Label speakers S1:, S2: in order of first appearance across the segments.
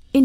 S1: verscheen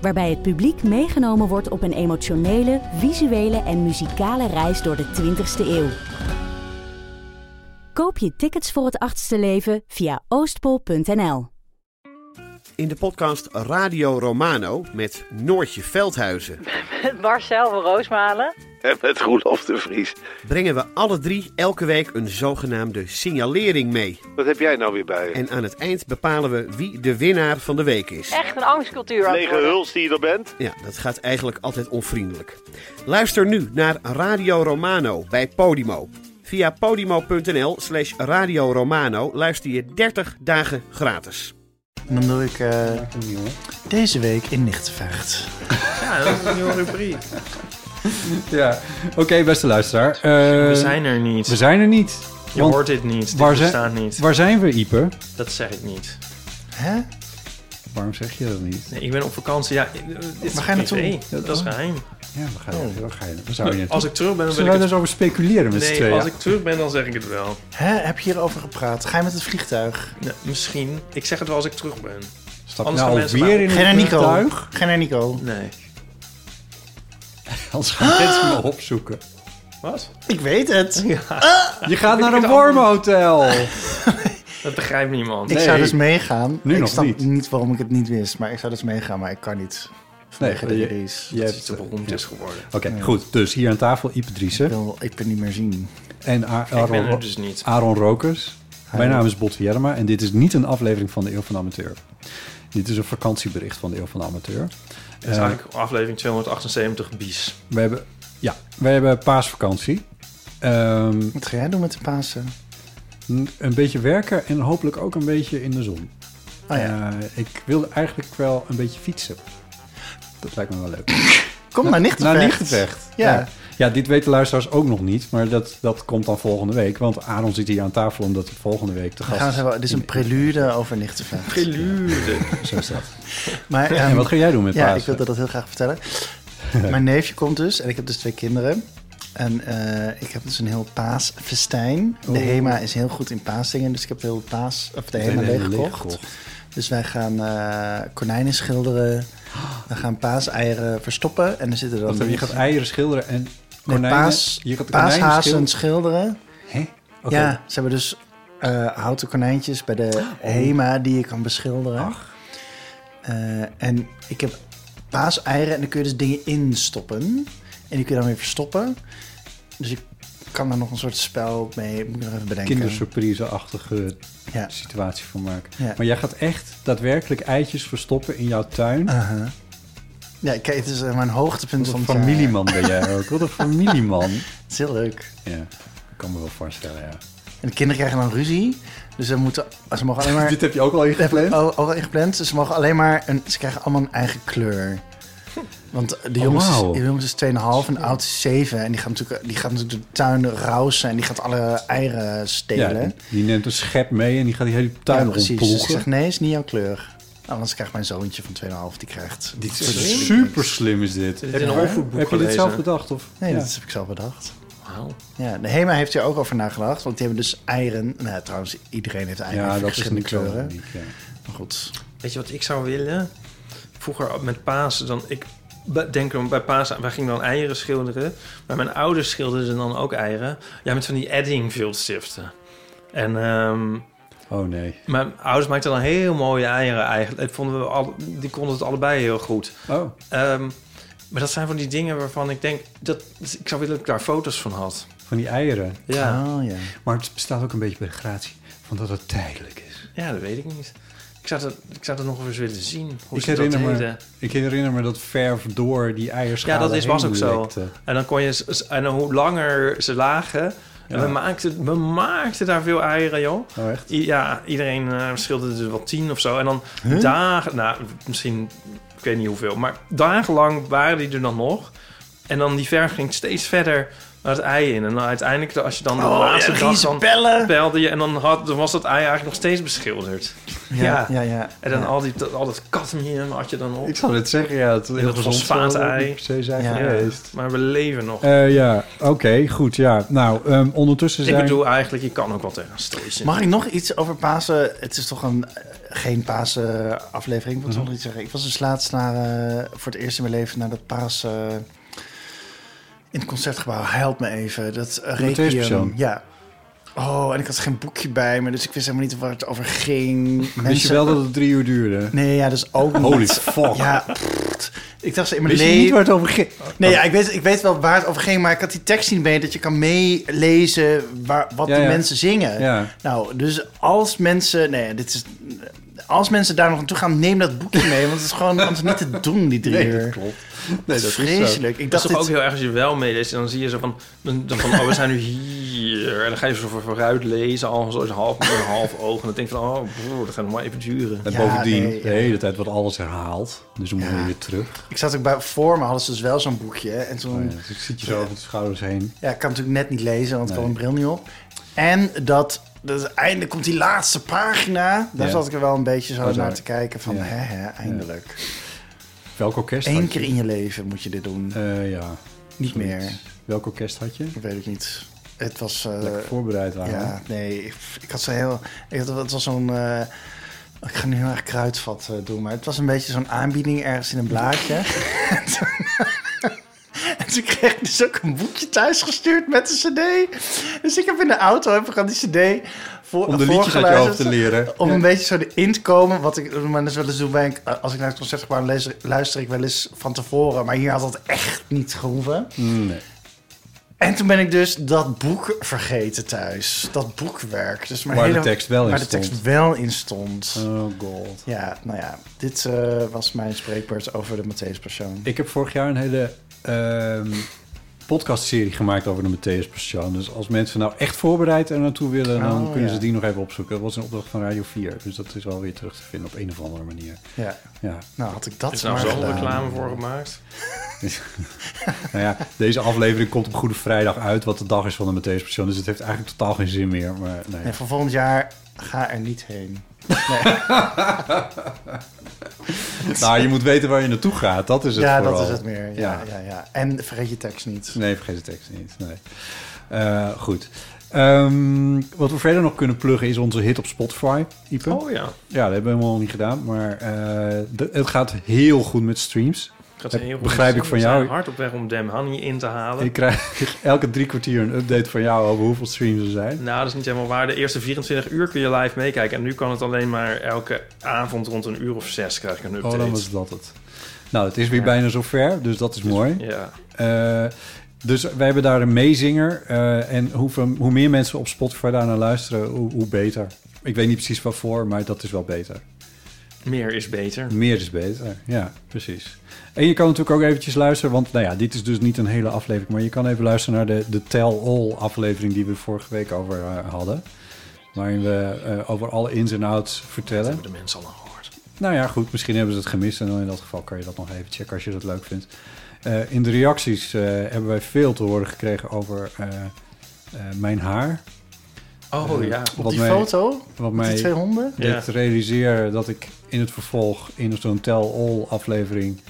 S1: Waarbij het publiek meegenomen wordt op een emotionele, visuele en muzikale reis door de 20ste eeuw. Koop je tickets voor het achtste leven via oostpol.nl.
S2: In de podcast Radio Romano met Noortje Veldhuizen
S3: Met Marcel van Roosmalen.
S4: En met Roelof de Vries.
S2: brengen we alle drie elke week een zogenaamde signalering mee.
S4: Wat heb jij nou weer bij je?
S2: En aan het eind bepalen we wie de winnaar van de week is.
S3: Echt een angstcultuur. aan het
S4: Lege
S3: worden.
S4: huls die je er bent.
S2: Ja, dat gaat eigenlijk altijd onvriendelijk. Luister nu naar Radio Romano bij Podimo. Via podimo.nl slash Radio Romano luister je 30 dagen gratis.
S5: En dan doe ik eh, deze week in Nichtvecht.
S6: Ja, oké, beste luisteraar. Eh,
S7: We zijn er niet.
S6: we zijn er niet.
S7: je
S6: want
S7: hoort dit niet. Dit
S6: waar, zijn-
S7: bestaat niet.
S6: waar zijn we, Ipe?
S7: Dat zeg ik niet.
S5: Hè?
S6: Waarom zeg je dat niet?
S7: Nee, ik ben op vakantie. Ja, eh, dit is
S5: Waar ga je
S7: privé.
S5: naartoe?
S7: Dat is geheim.
S6: Ja, we gaan oh. we gaan we zou je
S7: Als ik terug ben, dan wil
S6: Zullen
S7: ik
S6: wij daar
S7: het...
S6: zo over speculeren met z'n
S7: Nee,
S6: tweeën?
S7: als ik terug ben, dan zeg ik het wel.
S5: Hè? Heb je hierover gepraat? Ga je met het vliegtuig?
S7: Nee, misschien. Ik zeg het wel als ik terug ben.
S6: Stap
S7: anders
S6: nou
S7: gaan mensen
S6: alweer
S7: maar-
S6: in
S5: Ga je naar
S6: het
S5: Nico?
S6: vliegtuig?
S5: Ga je naar Nico?
S7: Nee.
S6: Anders gaan mensen me opzoeken.
S7: Wat?
S5: Ik weet het.
S6: Je gaat naar een wormhotel.
S7: Dat begrijpt niemand.
S5: Ik
S6: Nee.
S5: zou dus meegaan.
S6: Nu
S5: ik
S6: nog
S5: snap
S6: niet.
S5: waarom ik het niet wist, maar ik zou dus meegaan, maar ik kan niet. Vanwege
S6: je-
S5: de race.
S6: je
S7: Dat
S6: hebt- eh,
S7: is te beroemd is geworden.
S6: Oké, goed. Dus hier aan tafel Ipe
S5: Ik
S6: Driessen
S5: wil ik ben niet meer zien.
S6: en A-
S7: Ik ben
S6: Aaron,
S7: er dus niet.
S6: Aaron Rokers. Mijn naam is Bot Jerma en dit is niet een aflevering van de Eeuw van de Amateur. Dit is een vakantiebericht van de Eeuw van de Amateur.
S7: Het is eigenlijk aflevering 278 bies.
S6: We hebben, ja, we hebben paasvakantie. Ehm,
S5: Wat ga jij doen met de Pasen?
S6: n- een beetje werken en hopelijk ook een beetje in de zon.
S5: Oh ja.
S6: Eh, ik wilde eigenlijk wel een beetje fietsen. Dat lijkt me wel leuk.
S5: Kom naar Nichtenvecht.
S6: Naar Nichtenvecht.
S5: Ja.
S6: ja. Ja, dit weten de luisteraars ook nog niet. Maar dat, dat komt dan volgende week. Want Aaron zit hier aan tafel omdat hij volgende week te
S5: We
S6: gast
S5: gaan ze wel, dit is een prelude over Nichtenvecht.
S7: Prelude.
S6: Zo is dat.
S5: Maar,
S6: En
S5: ehm,
S6: wat ga jij doen met
S5: Ja,
S6: Pasen?
S5: ik wilde dat heel graag vertellen. Mijn neefje komt dus en ik heb dus twee kinderen. En eh, ik heb dus een heel paasfestijn.
S6: Oh.
S5: De HEMA is heel goed in paasdingen, dus ik heb heel paas, of de HEMA
S6: hele
S5: leeggekocht.
S6: leeggekocht.
S5: Dus wij gaan eh, konijnen schilderen. We gaan paaseieren verstoppen. En er zitten dan...
S6: Wacht even, je gaat eieren schilderen en
S5: Nee,
S6: konijnen.
S5: paas,
S6: je gaat de konijnen
S5: paashazen
S6: schilderen.
S5: schilderen.
S6: Hè? Oké. Oh.
S5: Ja, ze hebben dus eh, houten konijntjes bij de HEMA die je kan beschilderen. Eh, en ik heb paaseieren en dan kun je dus dingen instoppen. En die kun je dan weer verstoppen. Dus ik kan daar nog een soort spel mee, moet ik nog even bedenken.
S6: Kindersurprise-achtige
S5: Ja.
S6: situatie van maken.
S5: Ja.
S6: Maar jij gaat echt daadwerkelijk eitjes verstoppen in jouw tuin.
S5: Ja, kijk, het is eh, mijn hoogtepunt
S6: Wat
S5: Ah, van
S6: een
S5: het jaar.
S6: familieman ben jij ook. Wat een familieman.
S5: Het is heel leuk.
S6: Ja, ik kan me wel voorstellen, ja.
S5: En de kinderen krijgen dan ruzie. Dus ze, moeten, ze mogen alleen maar...
S6: Dit heb je ook al ingepland?
S5: Oh, al ingepland. Ze mogen alleen maar een, ze krijgen allemaal een eigen kleur. Want de
S6: Oh,
S5: jongens,
S6: wauw.
S5: de jongens is 2,5 en de oudste is 7. En die gaat natuurlijk, die gaat natuurlijk de tuin rausen en die gaat alle eieren
S6: Ja,
S5: stelen.
S6: die, die neemt een schep mee en die gaat die hele tuin
S5: Ja,
S6: rondploegen.
S5: Dus ik zeg, nee, is niet jouw kleur. Anders krijgt mijn zoontje van 2,5, die krijgt...
S6: Dit is super slim is dit.
S7: Dit
S6: heb
S7: is een
S6: je-
S7: opvoedboek
S6: heb je dit
S7: gelezen.
S6: zelf bedacht? Of?
S5: Nee,
S6: Ja.
S5: dat heb ik zelf bedacht.
S7: Wauw.
S5: Ja, de HEMA heeft hier ook over nagedacht, want die hebben dus eieren... Nou, trouwens, iedereen heeft eieren
S6: ja,
S5: van
S6: dat is
S5: verschillende
S6: niet zo.
S5: kleuren.
S6: uniek, ja.
S5: Maar goed,
S7: Weet je wat ik zou willen? Vroeger met Pasen, dan ik be- denk dan bij Pasen, wij gingen dan eieren schilderen. Maar mijn ouders schilderden dan ook eieren. Ja, met van die Eddingfield-stiften. En ehm,
S6: Oh nee.
S7: mijn ouders maakten dan heel mooie eieren eigenlijk. Dat vonden we al, die konden het allebei heel goed.
S6: Oh,
S7: Ehm, maar dat zijn van die dingen waarvan ik denk dat dus ik zou willen dat ik daar foto's van had.
S6: van die eieren.
S7: Ja,
S5: oh ja.
S6: Maar het bestaat ook een beetje bij de gratie van dat het tijdelijk is.
S7: ja dat weet ik niet. Ik zou dat, ik zou dat nog eens willen zien. Hoe
S6: Ik
S7: ze dat
S6: herinner, me,
S7: deden.
S6: ik herinner me dat verf door die
S7: Ja,
S6: eierschalen
S7: dat is, was
S6: heen
S7: ook zo.
S6: lekte.
S7: En dan kon je s- s- en hoe langer ze lagen. En
S6: Ja.
S7: we maakten, we maakten daar veel eieren, joh.
S6: Oh, echt?
S7: I- ja, iedereen eh, schilderde er wel tien of zo. En dan dagen, nou, misschien, ik weet niet hoeveel, maar dagenlang waren die er dan nog. En dan die verf ging steeds verder naar het ei in. En dan uiteindelijk, als je dan de
S5: Oh,
S7: laatste
S5: ja,
S7: dag dan
S5: riesbellen.
S7: pelde je... en dan, had, dan was dat ei eigenlijk nog steeds beschilderd. Ja.
S5: Ja, ja, ja.
S7: En dan
S5: Ja.
S7: al, die, dat- al dat cadmium had je dan op.
S6: Ik zou het zeggen, ja. Het heel
S7: dat
S6: gezond
S7: fosfaatei.
S6: zou het niet per se zijn
S5: Ja.
S6: geweest.
S7: Maar we leven nog.
S6: Eh, ja, oké, goed, ja. Nou, ehm, ondertussen zijn...
S7: Ik bedoel eigenlijk, je kan ook wel tegen stoïcijnen.
S5: Mag ik nog iets over Pasen? Het is toch een, eh, geen Pasen eh, aflevering. Ik wil
S6: Mhm.
S5: toch nog iets zeggen. Ik was dus laatst naar, eh, voor het eerst in mijn leven naar dat Paas... eh, in het concertgebouw. Help me even. Dat eh, Requiem.
S6: Matthäuspersoon.
S5: Ja. Oh, en ik had geen boekje bij me. Dus ik wist helemaal niet waar het over ging.
S6: Wist je wel dat het drie uur duurde?
S5: Nee, ja, dus ook niet.
S6: Holy fuck.
S5: Ja, pfft. ik dacht ze in mijn
S6: Wist je niet
S5: leven...
S6: waar het over ging?
S5: Nee, ja, ik, weet, ik weet wel waar het over ging, maar ik had die tekst niet mee dat je kan meelezen waar, wat
S6: Ja,
S5: die
S6: ja.
S5: mensen zingen.
S6: Ja.
S5: Nou, dus als mensen, nee, dit is, als mensen daar nog naartoe gaan, neem dat boekje mee, want het is gewoon anders niet te doen die drie
S6: Nee,
S5: uur.
S6: dat klopt. Nee,
S5: Dat is
S6: zo.
S5: vreselijk. Ik
S7: Dat
S5: dacht
S7: is toch ook
S5: dit-
S7: heel erg als je wel meeleest en dan zie je zo van, dan, dan van oh, we zijn nu hier. En dan ga je zo voor, vooruit lezen, al zo eens half met een half oog. En dan denk je van, oh, broer, dat gaat nog maar even duren.
S6: En
S5: Ja,
S6: bovendien,
S5: nee, ja.
S6: de hele tijd wordt alles herhaald. Dus dan moeten we
S5: Ja.
S6: weer terug.
S5: ik zat ook bij voor me hadden ze dus wel zo'n boekje en toen,
S6: Dus ik zit je zo over de schouders heen.
S5: ja, ik kan natuurlijk net niet lezen, want ik
S6: Nee.
S5: had mijn bril niet op. En dat, dat eindelijk komt die laatste pagina, daar
S6: Ja.
S5: zat ik er wel een beetje zo
S6: Oh,
S5: naar
S6: daar.
S5: te kijken van,
S6: Ja.
S5: hè, hè, eindelijk.
S6: Welk orkest
S5: Eén
S6: had je?
S5: keer in je leven moet je dit doen.
S6: Eh, ja.
S5: Niet
S6: zoiets.
S5: meer.
S6: Welk orkest had je?
S5: Dat weet ik niet. Het was. eh,
S6: Lekker voorbereid waren.
S5: ja, nee. Ik, ik had zo heel. Ik had, het was zo'n. eh, ik ga nu heel erg kruidvat eh, doen, maar het was een beetje zo'n aanbieding ergens in een blaadje. En toen- En toen kreeg ik dus ook een boekje thuis gestuurd met een cd. Dus ik heb in de auto heb ik aan die cd voor,
S6: Om de liedjes uit je
S5: voorgeluisterd.
S6: hoofd te leren.
S5: Om een beetje zo erin te komen. Wat ik maar dus wel eens doe bij een- als ik naar het concert ga, luister, luister ik wel eens van tevoren. Maar hier had dat echt niet gehoeven.
S6: Nee.
S5: En toen ben ik dus dat boek vergeten thuis. Dat boekwerk. Dus mijn
S6: Waar de
S5: hele,
S6: tekst wel in
S5: waar de
S6: stond.
S5: tekst wel in stond.
S6: Oh god.
S5: Ja, nou ja. Dit eh, was mijn spreekwoord over de Matthäuspersoon.
S6: Ik heb vorig jaar een hele ehm podcastserie gemaakt over de Matthäus Persoon. Dus als mensen nou echt voorbereid er naartoe willen, dan
S5: Oh,
S6: kunnen
S5: ja.
S6: ze die nog even opzoeken. Dat was een opdracht van Radio 4. Dus dat is wel weer terug te vinden op een of andere manier.
S5: Ja.
S6: Ja.
S5: Nou, had ik
S7: Er
S5: dat
S7: is nou
S5: maar
S7: zo'n
S5: gedaan.
S7: reclame voor gemaakt.
S6: Nou ja, deze aflevering komt op Goede Vrijdag uit, wat de dag is van de Matthäus Persoon. Dus het heeft eigenlijk totaal geen zin meer. Maar nee.
S5: Nee, voor volgend jaar ga er niet heen.
S6: Nou, je moet weten waar je naartoe gaat. Dat is het
S5: ja,
S6: vooral.
S5: dat is het meer. Ja, ja. Ja, En vergeet je tekst niet.
S6: Nee, vergeet de tekst niet. Nee. Eh, goed. Ehm, wat we verder nog kunnen pluggen is onze hit op Spotify, Ipe.
S7: Oh ja,
S6: Ja, dat hebben we helemaal niet gedaan. Maar eh, de- het gaat heel goed met streams.
S7: ik had
S6: Heb-
S7: een heel goed
S6: begrijp ik
S7: gezien.
S6: van
S7: We
S6: jou.
S7: zijn hard op weg om Dem Honey in te halen.
S6: Ik krijg elke drie kwartier een update van jou over hoeveel streams er zijn.
S7: Nou, dat is niet helemaal waar. De eerste 24 uur kun je live meekijken. En nu kan het alleen maar elke avond rond een uur of zes krijg ik een
S6: Oh,
S7: update.
S6: dan was dat het. Nou, het is weer bijna zover, dus dat is mooi.
S7: Ja,
S6: Eh, dus wij hebben daar een meezinger. eh, en hoe, hoe meer mensen op Spotify daar naar luisteren, hoe, hoe beter. Ik weet niet precies waarvoor, maar dat is wel beter.
S7: meer is beter.
S6: Meer is beter, ja, precies. En je kan natuurlijk ook eventjes luisteren, want nou ja, dit is dus niet een hele aflevering, maar je kan even luisteren naar de, de tell-all aflevering die we vorige week over eh, hadden. Waarin we eh, over alle ins en outs vertellen.
S7: Hebben de mensen al gehoord.
S6: Nou ja, goed, misschien hebben ze het gemist. En dan in dat geval kan je dat nog even checken als je dat leuk vindt. Eh, in de reacties eh, hebben wij veel te horen gekregen over eh, eh, mijn haar.
S7: Oh ja.
S5: Op
S6: Wat
S5: die
S6: mij-
S5: foto?
S6: Wat
S5: Met die twee
S6: mij
S5: honden?
S7: Ja.
S6: deed realiseren dat ik in het vervolg in zo'n tell-all aflevering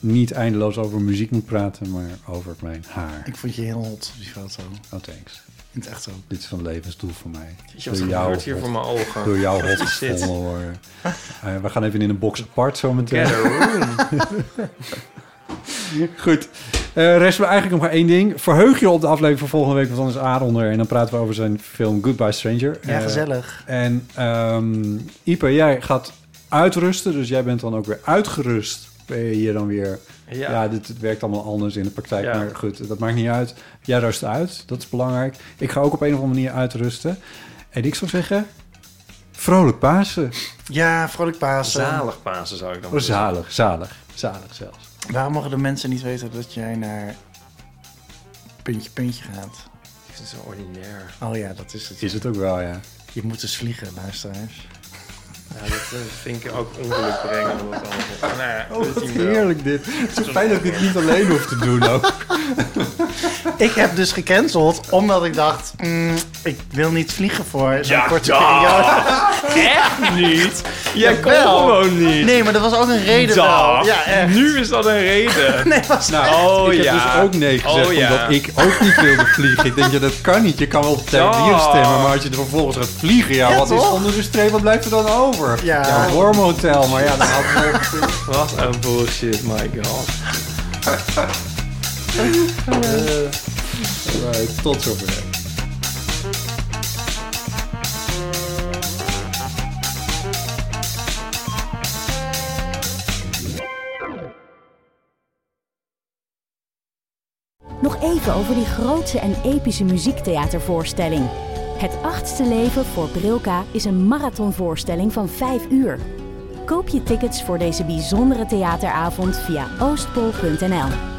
S6: niet eindeloos over muziek moet praten, maar over mijn haar.
S5: Ik vond je heel hot op die foto.
S6: Oh, thanks.
S5: In het echt zo.
S6: Dit is een levensdoel voor mij.
S7: Weet je wat er
S6: Door jou
S7: gebeurt hier voor mijn ogen?
S6: Door jou hot
S7: is dit?
S6: gevonden worden. Eh, we gaan even in een box apart zo meteen.
S7: Get a room.
S6: Goed. Eh rest me eigenlijk nog maar één ding. Verheug je op de aflevering van volgende week, want dan is Aaron er. En dan praten we over zijn film Goodbye Stranger.
S5: Ja,
S6: Eh,
S5: gezellig.
S6: En ehm Ipe, jij gaat uitrusten. Dus jij bent dan ook weer uitgerust. Ben je hier dan weer... Ja,
S7: Ja.
S6: dit, het werkt allemaal anders in de praktijk.
S7: Ja.
S6: Maar goed, dat maakt niet uit. Jij rust uit. Dat is belangrijk. Ik ga ook op een of andere manier uitrusten. En ik zou zeggen... Vrolijk Pasen.
S5: Ja, vrolijk Pasen.
S7: Zalig Pasen zou ik dan
S6: Oh,
S7: willen zeggen.
S6: zalig, zalig. Zalig zelfs.
S5: Waarom mogen de mensen niet weten dat jij naar puntje puntje gaat?
S7: Het is zo ordinair.
S5: Oh ja, dat is het.
S6: Is het ook wel, ja.
S5: Je moet dus vliegen, luisteraars.
S7: Ja, dat eh, vind ik ook ongeluk brengen. Om dat allemaal. Nou ja,
S6: Oh, wat
S7: ultiem wel.
S6: heerlijk dit. Het is zo fijn dat ik dit niet alleen hoef te doen ook.
S5: Ik heb dus gecanceld omdat ik dacht, mm, ik wil niet vliegen voor zo'n
S7: Ja,
S5: korte
S7: ja.
S5: periode.
S7: Echt niet? Jij kon
S5: Jawel.
S7: gewoon niet.
S5: Nee, maar dat was ook een reden wel.
S7: Dag.
S5: Ja, echt.
S7: nu is dat een reden.
S5: Nee, was
S6: Nou,
S7: Oh,
S6: ik heb
S7: ja.
S6: dus ook nee gezegd,
S7: Oh, ja.
S6: omdat ik ook niet wilde vliegen. Ik denk, ja, dat kan niet. Je kan wel tegen
S7: Ja.
S6: dieren stemmen, maar als je er vervolgens gaat vliegen, ja,
S5: Ja,
S6: wat is
S5: toch?
S6: onder de streep, wat blijft er dan over?
S5: Ja.
S6: een wormhotel, maar ja, dan had ik wel-
S7: Wat een bullshit, my god.
S6: Right, eh, tot zover.
S1: Nog even over die grootse en epische muziektheatervoorstelling. Het achtste leven voor Brilka is een marathonvoorstelling van 5 uur. Koop je tickets voor deze bijzondere theateravond via oostpol.nl.